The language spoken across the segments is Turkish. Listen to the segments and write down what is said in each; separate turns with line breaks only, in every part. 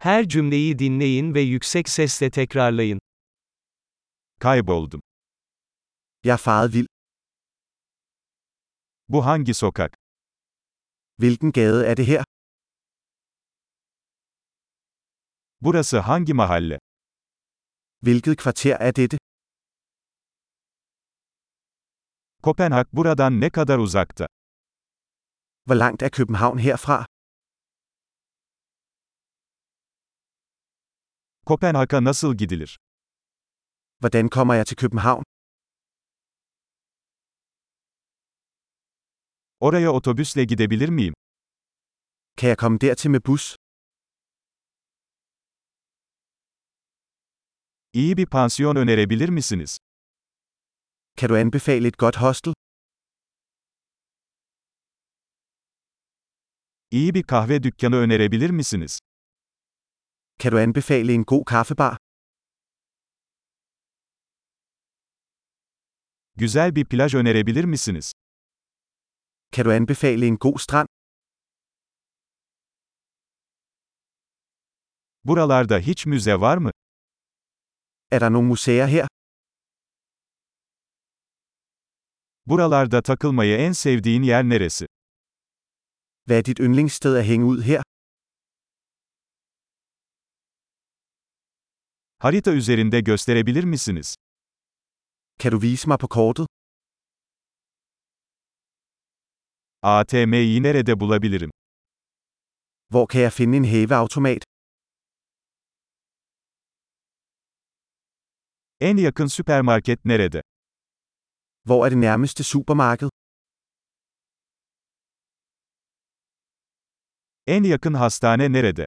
Her cümleyi dinleyin ve yüksek sesle tekrarlayın.
Kayboldum.
Jeg er faret vild.
Bu hangi sokak?
Hvilken gade er det her?
Burası hangi mahalle?
Hvilket kvarter er dette?
Kopenhag buradan ne kadar uzakta?
Hvor langt er København herfra?
Kopenhag'a nasıl gidilir?
Hvordan kommer jeg til København?
Oraya otobüsle gidebilir miyim?
Kan jeg komme dertil med bus?
İyi bir pansiyon önerebilir misiniz?
Kan du anbefale et godt hostel?
İyi bir kahve dükkanı önerebilir misiniz?
Kan du anbefale en god kaffebar?
Güzel bir plaj önerebilir misiniz?
Kan du anbefale en god strand?
Buralarda hiç müze var mı?
Er der nogle museer her?
Buralarda takılmayı en sevdiğin yer neresi?
Hvad er dit yndlingssted at hænge ud her?
Harita üzerinde gösterebilir misiniz?
Kan du vise mig på kortet?
ATM'yi nerede bulabilirim?
Hvor kan jeg finde en hæveautomat?
En yakın süpermarket nerede?
Hvor er det nærmeste supermarked?
En yakın hastane nerede?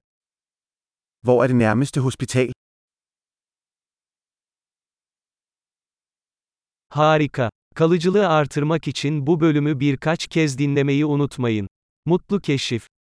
Hvor er det nærmeste hospital?
Harika. Kalıcılığı artırmak için bu bölümü birkaç kez dinlemeyi unutmayın. Mutlu keşif.